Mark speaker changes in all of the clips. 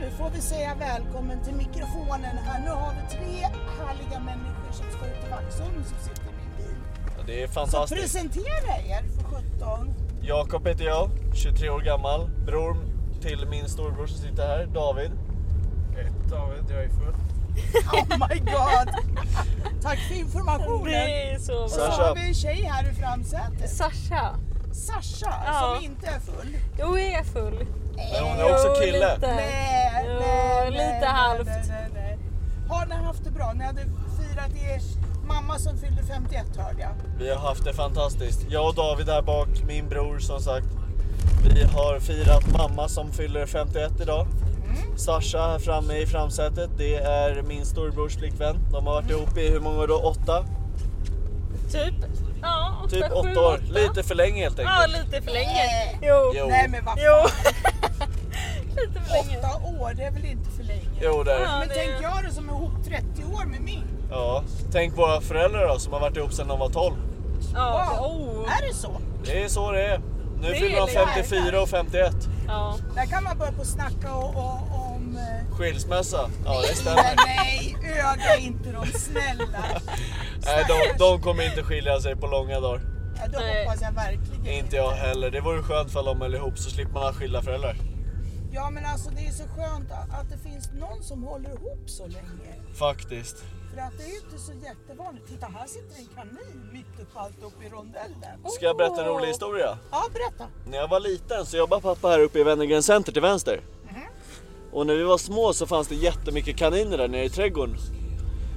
Speaker 1: nu får vi säga välkommen till mikrofonen här. Nu har vi tre härliga människor som ska ut till Vaxholm som sitter i min bil.
Speaker 2: Ja, det är
Speaker 1: Så
Speaker 2: fantastiskt.
Speaker 1: presentera er för 17.
Speaker 2: Jakob heter jag, 23 år gammal. Bror till min storbror som sitter här, David.
Speaker 3: Ett David, jag är full.
Speaker 1: Oh my god! Tack för informationen.
Speaker 4: Det är så
Speaker 1: Och
Speaker 4: bra.
Speaker 1: så har vi en tjej här i framsätet.
Speaker 4: Sasha.
Speaker 1: Sasha
Speaker 4: Ja.
Speaker 1: som inte är full.
Speaker 4: Jo, jag är full.
Speaker 2: Men hon är också
Speaker 4: Jo,
Speaker 2: kille.
Speaker 4: lite.
Speaker 1: Nej,
Speaker 4: Jo,
Speaker 1: nej,
Speaker 4: lite
Speaker 1: nej, nej,
Speaker 4: halvt.
Speaker 1: Nej, nej, nej. Har ni haft det bra? Ni hade firat er mamma som fyllde 51 hörde jag.
Speaker 2: Vi har haft det fantastiskt. Jag och David där bak, min bror som sagt. Vi har firat mamma som fyller 51 idag.
Speaker 4: Mm.
Speaker 2: Sasha här framme i framsätet, det är min storbrors flickvän. De har varit ihop i hur många då? Åtta?
Speaker 4: Typ, ja, åtta,
Speaker 2: Typ
Speaker 4: sju,
Speaker 2: åtta år. Lite för länge helt
Speaker 4: Ja,
Speaker 2: enkelt.
Speaker 4: lite för länge. Jo.
Speaker 2: Jo.
Speaker 1: Nej men vad
Speaker 4: Jo.
Speaker 1: fan,
Speaker 4: lite för länge.
Speaker 1: åtta år det är väl inte för länge?
Speaker 2: Jo, det är det.
Speaker 4: Ja,
Speaker 1: men
Speaker 4: det-
Speaker 1: tänk jag det som är ihop 30 år med min.
Speaker 2: Ja. Tänk våra föräldrar då som har varit ihop sedan de var 12.
Speaker 4: Ja,
Speaker 1: Wow.
Speaker 4: oh.
Speaker 1: Är det så?
Speaker 2: Det är så det är. Nu
Speaker 4: Det
Speaker 2: fyller de
Speaker 4: gillar jag.
Speaker 2: 54 och 51.
Speaker 4: ja.
Speaker 1: Där kan man börja på att snacka och, och, om... eh,
Speaker 2: Skilsmässa? Ja, det
Speaker 1: Men
Speaker 2: stämmer.
Speaker 1: nej, öga inte dem snälla.
Speaker 2: Nej, de, de kommer inte skilja sig på långa dagar.
Speaker 1: Ja, då
Speaker 4: Nej.
Speaker 1: hoppas jag verkligen
Speaker 2: Inte jag heller. Det vore skönt för de höll ihop så slipper man ha skilda föräldrar.
Speaker 1: Ja men alltså det är så skönt att att det finns någon som håller ihop så länge.
Speaker 2: Faktiskt.
Speaker 1: För att det är ju inte så jättevanligt. Titta här sitter en kanin mitt uppe allt uppe i rondellen.
Speaker 2: Ska jag berätta en
Speaker 4: Åh.
Speaker 2: rolig historia?
Speaker 1: Ja berätta.
Speaker 2: När jag var liten så jobbade pappa här uppe i Wennergren Center till vänster.
Speaker 1: Mhm.
Speaker 2: Och när vi var små så fanns det jättemycket kaniner där nere i trädgården.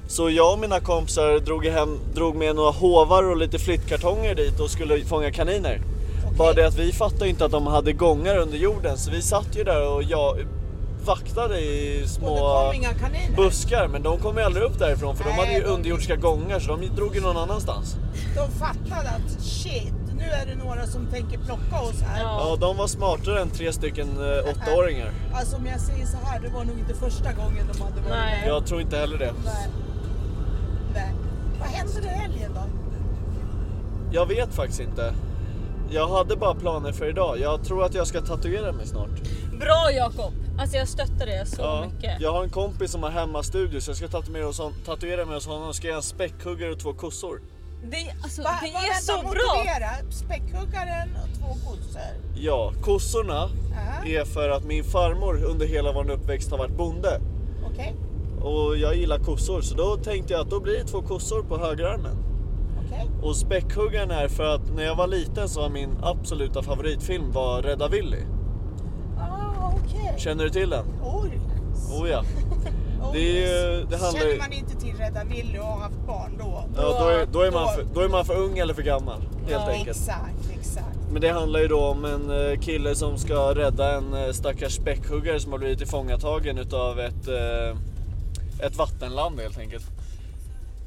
Speaker 2: Så jag och mina kompisar drog, hem, drog med några hovar och lite flyttkartonger dit och skulle fånga kaniner. Bara det att vi fattade inte att de hade gångar under jorden så vi satt ju där och jag vaktade i
Speaker 1: Och det
Speaker 2: små
Speaker 1: kom inga kaniner.
Speaker 2: buskar men de kom ju aldrig upp därifrån för de
Speaker 1: Nej,
Speaker 2: hade ju
Speaker 1: de-
Speaker 2: underjordiska gångar så de drog ju någon annanstans.
Speaker 1: De fattade att shit, nu är det några som tänker plocka oss här.
Speaker 4: Ja.
Speaker 2: Ja, de var smartare än tre stycken eh, åttaåringar.
Speaker 1: Alltså om jag säger så här, det var nog inte första gången de hade varit
Speaker 4: Nej.
Speaker 1: med.
Speaker 2: Jag tror inte heller det.
Speaker 1: Nej. Nej. Vad händer i helgen då?
Speaker 2: Jag vet faktiskt inte. Jag hade bara planer för idag. Jag tror att jag ska tatuera mig snart.
Speaker 4: Bra Jakob! Alltså jag stöttar dig så mycket.
Speaker 2: Jag har en kompis som har hemmastudio så jag ska tatuera mig hos hon- tatuera mig hos honom. Ska jag göra en späckhuggare och två kossor.
Speaker 4: Det, alltså,
Speaker 1: Va-
Speaker 4: det
Speaker 1: va-
Speaker 4: är
Speaker 1: vänta,
Speaker 4: så bra!
Speaker 1: motivera. Späckhuggaren och två kossor.
Speaker 2: Ja, kossorna
Speaker 1: Aha.
Speaker 2: är för att min farmor under hela vår uppväxt har varit bonde.
Speaker 1: Okej.
Speaker 2: Och jag gillar kossor så då tänkte jag att då blir det två kossor på högerarmen.
Speaker 1: Okej.
Speaker 2: Och späckhuggaren är för att när jag var liten så var min absoluta favoritfilm var Rädda Willy.
Speaker 1: Ah, okej.
Speaker 2: Känner du till den?
Speaker 1: Oj.
Speaker 2: Oh ja. Det är ju- det handlar ju-
Speaker 1: Känner man inte till Rädda Willy och har haft barn då?
Speaker 2: Ja, då, är, då, är man för, då är man för ung eller för gammal helt
Speaker 4: Ja.
Speaker 2: enkelt.
Speaker 1: Exakt, exakt.
Speaker 2: Men det handlar ju då om en eh, kille som ska rädda en eh, stackars späckhuggare som har blivit tillfångatagen utav ett, eh, ett vattenland helt enkelt.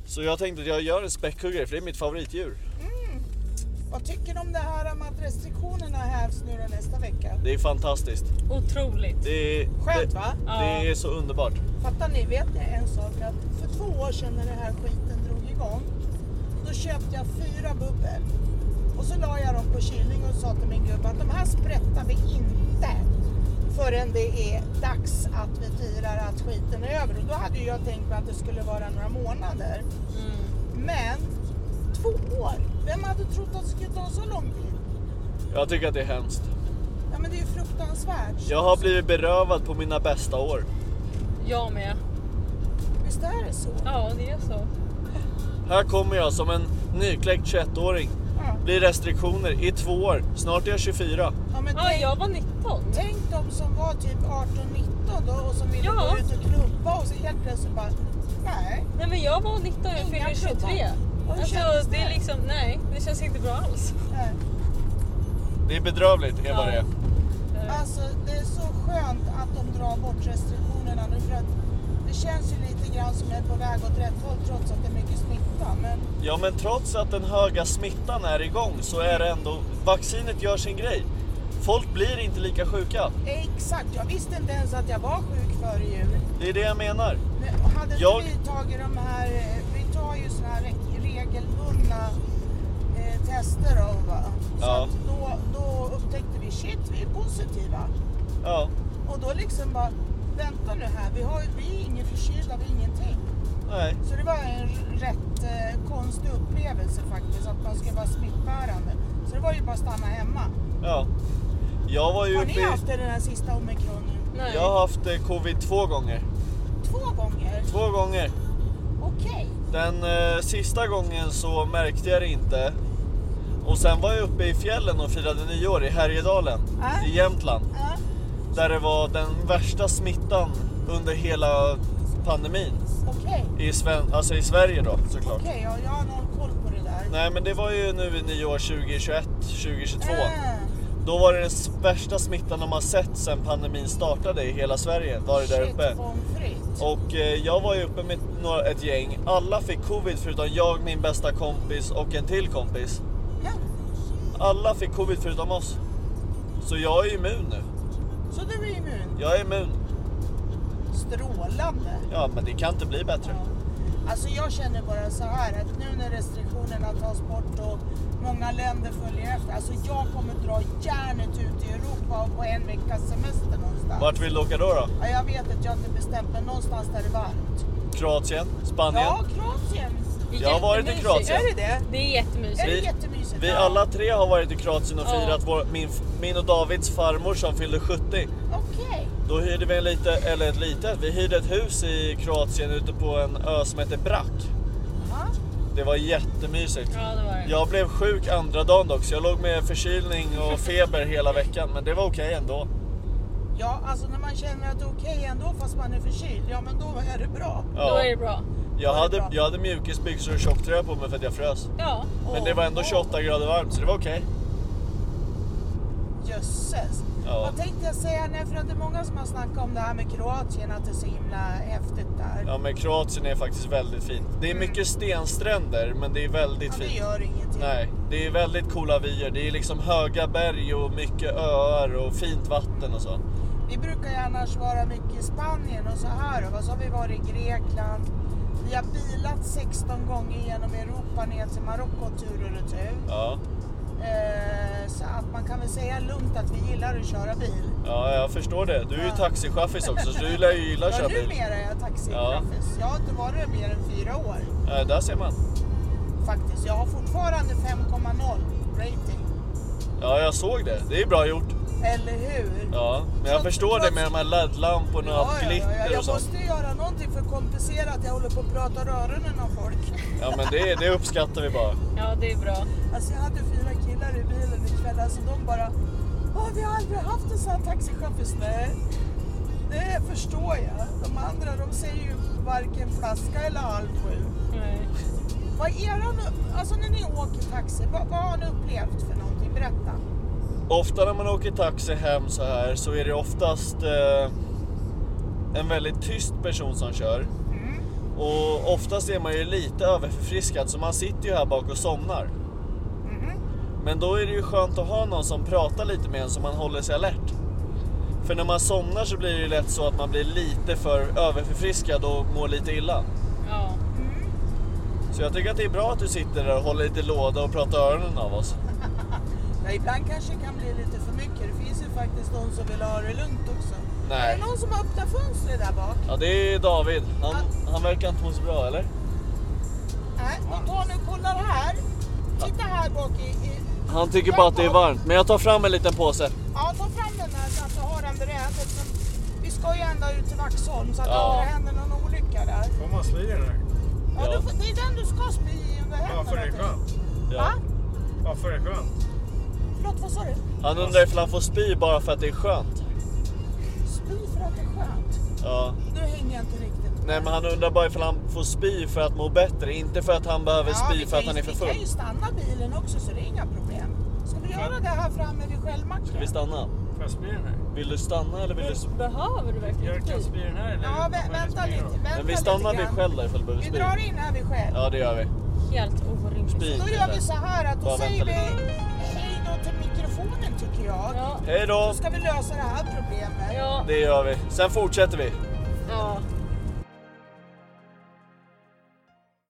Speaker 2: Så jag tänkte att jag gör en späckhuggare för det är mitt favoritdjur.
Speaker 1: Vad tycker du om det här om att restriktionerna hävs nu då nästa vecka?
Speaker 2: Det är fantastiskt.
Speaker 4: Otroligt.
Speaker 2: Det är,
Speaker 1: Skönt
Speaker 2: det,
Speaker 1: va?
Speaker 2: det är så underbart.
Speaker 1: Fattar ni, vet ni en sak? Att för två år sedan när den här skiten drog igång, då köpte jag fyra bubbel. Och så la jag dem på kylning och sa till min gubbe att de här sprättar vi inte förrän det är dags att vi firar att skiten är över. Och då hade ju jag tänkt mig att det skulle vara några månader.
Speaker 4: Mm.
Speaker 1: Men två år! Vem hade trott att det skulle ta så lång tid?
Speaker 2: Jag tycker att det är hemskt.
Speaker 1: Ja men det är ju fruktansvärt.
Speaker 2: Jag har blivit berövad på mina bästa år.
Speaker 4: Jag med.
Speaker 1: Visst är det så?
Speaker 4: Ja, det är så.
Speaker 2: Här kommer jag som en nykläckt 21-åring.
Speaker 1: Ja.
Speaker 2: Blir restriktioner i två år. Snart är jag 24.
Speaker 1: Ja, men
Speaker 4: Ja,
Speaker 1: tänk,
Speaker 4: jag var 19.
Speaker 1: tänk de som var typ 18-19 då och som ville
Speaker 4: Ja.
Speaker 1: gå ut och klubba och så helt plötsligt bara, nej.
Speaker 4: Nej men jag var 19 och jag
Speaker 1: Inga
Speaker 4: fyllde 23.
Speaker 1: klubbar. Och hur
Speaker 4: Alltså
Speaker 1: kändes
Speaker 4: det är
Speaker 1: det?
Speaker 4: liksom, nej det känns inte bra alls.
Speaker 1: nej.
Speaker 2: Det är bedrövligt, är vad det är.
Speaker 1: Alltså det är så skönt att de drar bort restriktionerna nu för att det känns ju lite grann som jag är på väg åt rätt håll trots att det är mycket smitta. Men
Speaker 2: Ja, men trots att den höga smittan är igång så är det ändå... Vaccinet gör sin grej. Folk blir inte lika sjuka.
Speaker 1: exakt, jag visste inte ens att jag var sjuk före jul.
Speaker 2: Det är det jag menar.
Speaker 1: Men Hade inte
Speaker 2: Jag-
Speaker 1: vi tagit de här, eh, vi tar ju såna här re- regelbundna eh, tester då va? Så
Speaker 2: Ja.
Speaker 1: att då, då upptäckte vi shit, vi är positiva.
Speaker 2: Ja,
Speaker 1: Och då liksom bara, vänta nu här, vi, har, ju- vi är ingen förkylda, vi är ingenting.
Speaker 2: Nej.
Speaker 1: Så det var en rätt eh, konstig upplevelse faktiskt, att man ska vara smittbärande. Så det var ju bara att stanna hemma.
Speaker 2: Ja. Jag var ju
Speaker 1: Har
Speaker 2: uppe
Speaker 1: ni
Speaker 2: i...
Speaker 1: haft det den här sista omikron nu?
Speaker 4: Nej.
Speaker 2: Jag har haft eh, covid två gånger.
Speaker 1: Två gånger?
Speaker 2: Två gånger.
Speaker 1: Okej.
Speaker 2: Den eh, sista gången så märkte jag det inte. Och sen var jag uppe i fjällen och firade nyår i Härjedalen
Speaker 1: Ah.
Speaker 2: i Jämtland.
Speaker 1: Ja.
Speaker 2: Där det var den värsta smittan under hela pandemin.
Speaker 1: Okej.
Speaker 2: I, Sven- alltså i Sverige då såklart.
Speaker 1: Okej, ja, jag har noll koll på det där.
Speaker 2: Nej men det var ju nu i nyår 2021, 2022.
Speaker 1: Ah,
Speaker 2: Då var det den värsta smittan de har sett sedan pandemin startade i hela Sverige. Var det där
Speaker 1: shit,
Speaker 2: uppe.
Speaker 1: pommes frites.
Speaker 2: Och eh, jag var ju uppe med några, ett gäng. Alla fick covid förutom jag, min bästa kompis och en till kompis.
Speaker 1: Ja.
Speaker 2: Alla fick covid förutom oss. Så jag är immun nu.
Speaker 1: Så du är immun?
Speaker 2: Jag är immun.
Speaker 1: Strålande.
Speaker 2: Ja men det kan inte bli bättre.
Speaker 1: Alltså jag känner bara så här att nu när restriktionerna tas bort och många länder följer efter. Alltså jag kommer dra järnet ut i Europa och på en veckas semester någonstans.
Speaker 2: Vart vill du åka då? då?
Speaker 1: Ja, jag vet att jag inte bestämt men någonstans där det är varmt.
Speaker 2: Kroatien? Spanien?
Speaker 1: Ja, Kroatien.
Speaker 4: Det är
Speaker 2: Jag har varit i
Speaker 4: jättemysigt.
Speaker 2: Kroatien.
Speaker 1: Är det det?
Speaker 4: Det är jättemysigt.
Speaker 1: Är det
Speaker 2: Vi-
Speaker 1: jättemysigt?
Speaker 2: Vi
Speaker 1: Ja.
Speaker 2: alla tre har varit i Kroatien och
Speaker 4: Ja.
Speaker 2: firat vår, min, min och Davids farmor som fyllde 70.
Speaker 1: Okej.
Speaker 2: Då hyrde vi en lite, eller ett litet, vi hyrde ett hus i Kroatien ute på en ö som heter Brack.
Speaker 1: Ja.
Speaker 2: Det var jättemysigt.
Speaker 4: Ja, det var det.
Speaker 2: Jag blev sjuk andra dagen dock så jag låg med förkylning och feber hela veckan men det var okej ändå.
Speaker 1: Ja, alltså när man känner att det är okej ändå fast man är förkyld, ja men då är det bra.
Speaker 4: Då
Speaker 2: Ja.
Speaker 4: är det bra.
Speaker 2: Jag,
Speaker 1: det
Speaker 2: hade,
Speaker 1: bra.
Speaker 2: jag hade mjukisbyxor och tjocktröja på mig för att jag frös.
Speaker 4: Ja.
Speaker 2: Men det var ändå
Speaker 1: Åh,
Speaker 2: 28 grader varmt så det var okej.
Speaker 1: åh, Jösses.
Speaker 2: Ja.
Speaker 1: Vad tänkte jag säga? Nej, för att det är många som har snackat om det här med Kroatien, att det är så himla häftigt där.
Speaker 2: Ja men Kroatien är faktiskt väldigt fint. Det är
Speaker 4: Mm.
Speaker 2: mycket stenstränder men det är väldigt
Speaker 1: Ja, det
Speaker 2: fint.
Speaker 1: gör ingenting.
Speaker 2: Nej, det är väldigt coola vyer. Det är liksom höga berg och mycket öar och fint vatten och så.
Speaker 1: Vi brukar ju annars vara mycket i Spanien och så här och så har vi varit i Grekland. Vi har bilat 16 gånger genom Europa ner till Marocko tur och retur.
Speaker 2: Ja,
Speaker 1: Eh, så att man kan väl säga lugnt att vi gillar att köra bil.
Speaker 2: ja jag förstår det. Du är ju
Speaker 1: Ja.
Speaker 2: taxichaffis också så du lär ju gilla att köra
Speaker 1: Ja,
Speaker 2: bil.
Speaker 1: numera är jag taxichaffis. Jag har inte varit mer än fyra år
Speaker 2: Ja, där ser man.
Speaker 1: faktiskt. Jag har fortfarande 5,0 rating.
Speaker 2: Ja, jag såg det. Det är bra gjort.
Speaker 1: Eller hur?
Speaker 2: Ja, men jag
Speaker 1: Så-
Speaker 2: förstår det med de här LED-lamporna och allt glitter och
Speaker 1: Jag
Speaker 2: sånt.
Speaker 1: måste göra någonting för att kompensera att jag håller på att prata röronen om folk.
Speaker 2: Ja, men det, det uppskattar vi bara.
Speaker 4: Ja, det är bra.
Speaker 1: Alltså jag hade fyra killar i bilen ikväll, alltså de bara Åh, vi har aldrig haft en sån här taxichaufför. Nej, det förstår jag. De andra de säger ju varken flaska eller halv sju.
Speaker 4: Nej.
Speaker 1: Vad är eran, alltså när ni åker taxi, vad, vad har ni upplevt för någonting? Berätta.
Speaker 2: Ofta när man åker taxi hem så här så är det oftast eh, en väldigt tyst person som kör. Och oftast är man ju lite överförfriskad så man sitter ju här bak och somnar.
Speaker 1: Mm-hmm.
Speaker 2: Men då är det ju skönt att ha någon som pratar lite med en så man håller sig alert. För när man somnar så blir det ju lätt så att man blir lite för överförfriskad och mår lite illa.
Speaker 4: Ja.
Speaker 2: Så jag tycker att det är bra att du sitter där och håller lite låda och pratar öronen av oss.
Speaker 1: Ja, ibland kanske det kan bli lite för mycket. Det finns ju faktiskt de som vill ha det lugnt också.
Speaker 2: Nej.
Speaker 1: Är det någon som har öppnat fönstret där bak?
Speaker 2: Ja, det är David. Han, han verkar inte må så bra, eller?
Speaker 1: Nej, och ta nu och kollar här. Titta här bak i... i
Speaker 2: Han tycker bara att det är varmt, men jag tar fram en liten påse.
Speaker 1: ja, ta fram den där så att du har den beredd. eftersom Vi ska ju ända ut till Vaxholm så att
Speaker 2: Ja.
Speaker 1: om det händer någon olycka där.
Speaker 3: Får man spy i den här?
Speaker 1: Ja,
Speaker 2: Ja.
Speaker 1: Du, får- det är den du ska spy i om det händer
Speaker 3: Varför är det
Speaker 1: någonting.
Speaker 3: skönt?
Speaker 2: Ja.
Speaker 1: Va?
Speaker 3: Varför är det skönt?
Speaker 1: Förlåt, vad sa du?
Speaker 2: Han undrar ifall han får spy bara för att det är skönt.
Speaker 1: Spy för att det är skönt.
Speaker 2: Ja.
Speaker 1: Nu hänger jag inte riktigt.
Speaker 2: Nej, men han undrar bara ifall han får spy för att må bättre, inte för att han behöver
Speaker 1: vi
Speaker 2: spy för
Speaker 1: kan
Speaker 2: att
Speaker 1: ju-
Speaker 2: han är för
Speaker 1: Vi kan
Speaker 2: full.
Speaker 1: ju stanna bilen också så det är inga problem. Ska vi göra det här framme vid
Speaker 2: Ska vi
Speaker 1: självmacken?
Speaker 2: stanna?
Speaker 3: Får jag spy i den här?
Speaker 2: Vill du stanna eller vill du... sp-
Speaker 4: Behöver du verkligen
Speaker 3: Jag kan
Speaker 4: spy?
Speaker 3: spy i den här eller?
Speaker 1: Ja,
Speaker 3: får
Speaker 1: vä-
Speaker 3: jag
Speaker 1: vänta
Speaker 3: spy
Speaker 1: lite.
Speaker 3: då?
Speaker 1: Vänta
Speaker 2: Men vi stannar
Speaker 1: lite
Speaker 2: vid
Speaker 1: grann.
Speaker 2: Shell då ifall du behöver
Speaker 1: Vi
Speaker 2: spy.
Speaker 1: drar in här vid Shell.
Speaker 2: Ja, det gör vi.
Speaker 4: Helt orimligt.
Speaker 2: Spy.
Speaker 1: Då gör vi så här att då
Speaker 2: Bara
Speaker 1: säger vi
Speaker 2: vänta lite.
Speaker 1: hej då till mikrofonen tycker jag.
Speaker 4: Ja.
Speaker 2: Hej då!
Speaker 1: Då ska vi lösa det här problemet.
Speaker 4: Ja.
Speaker 2: Det gör vi. Sen fortsätter vi.
Speaker 4: ja.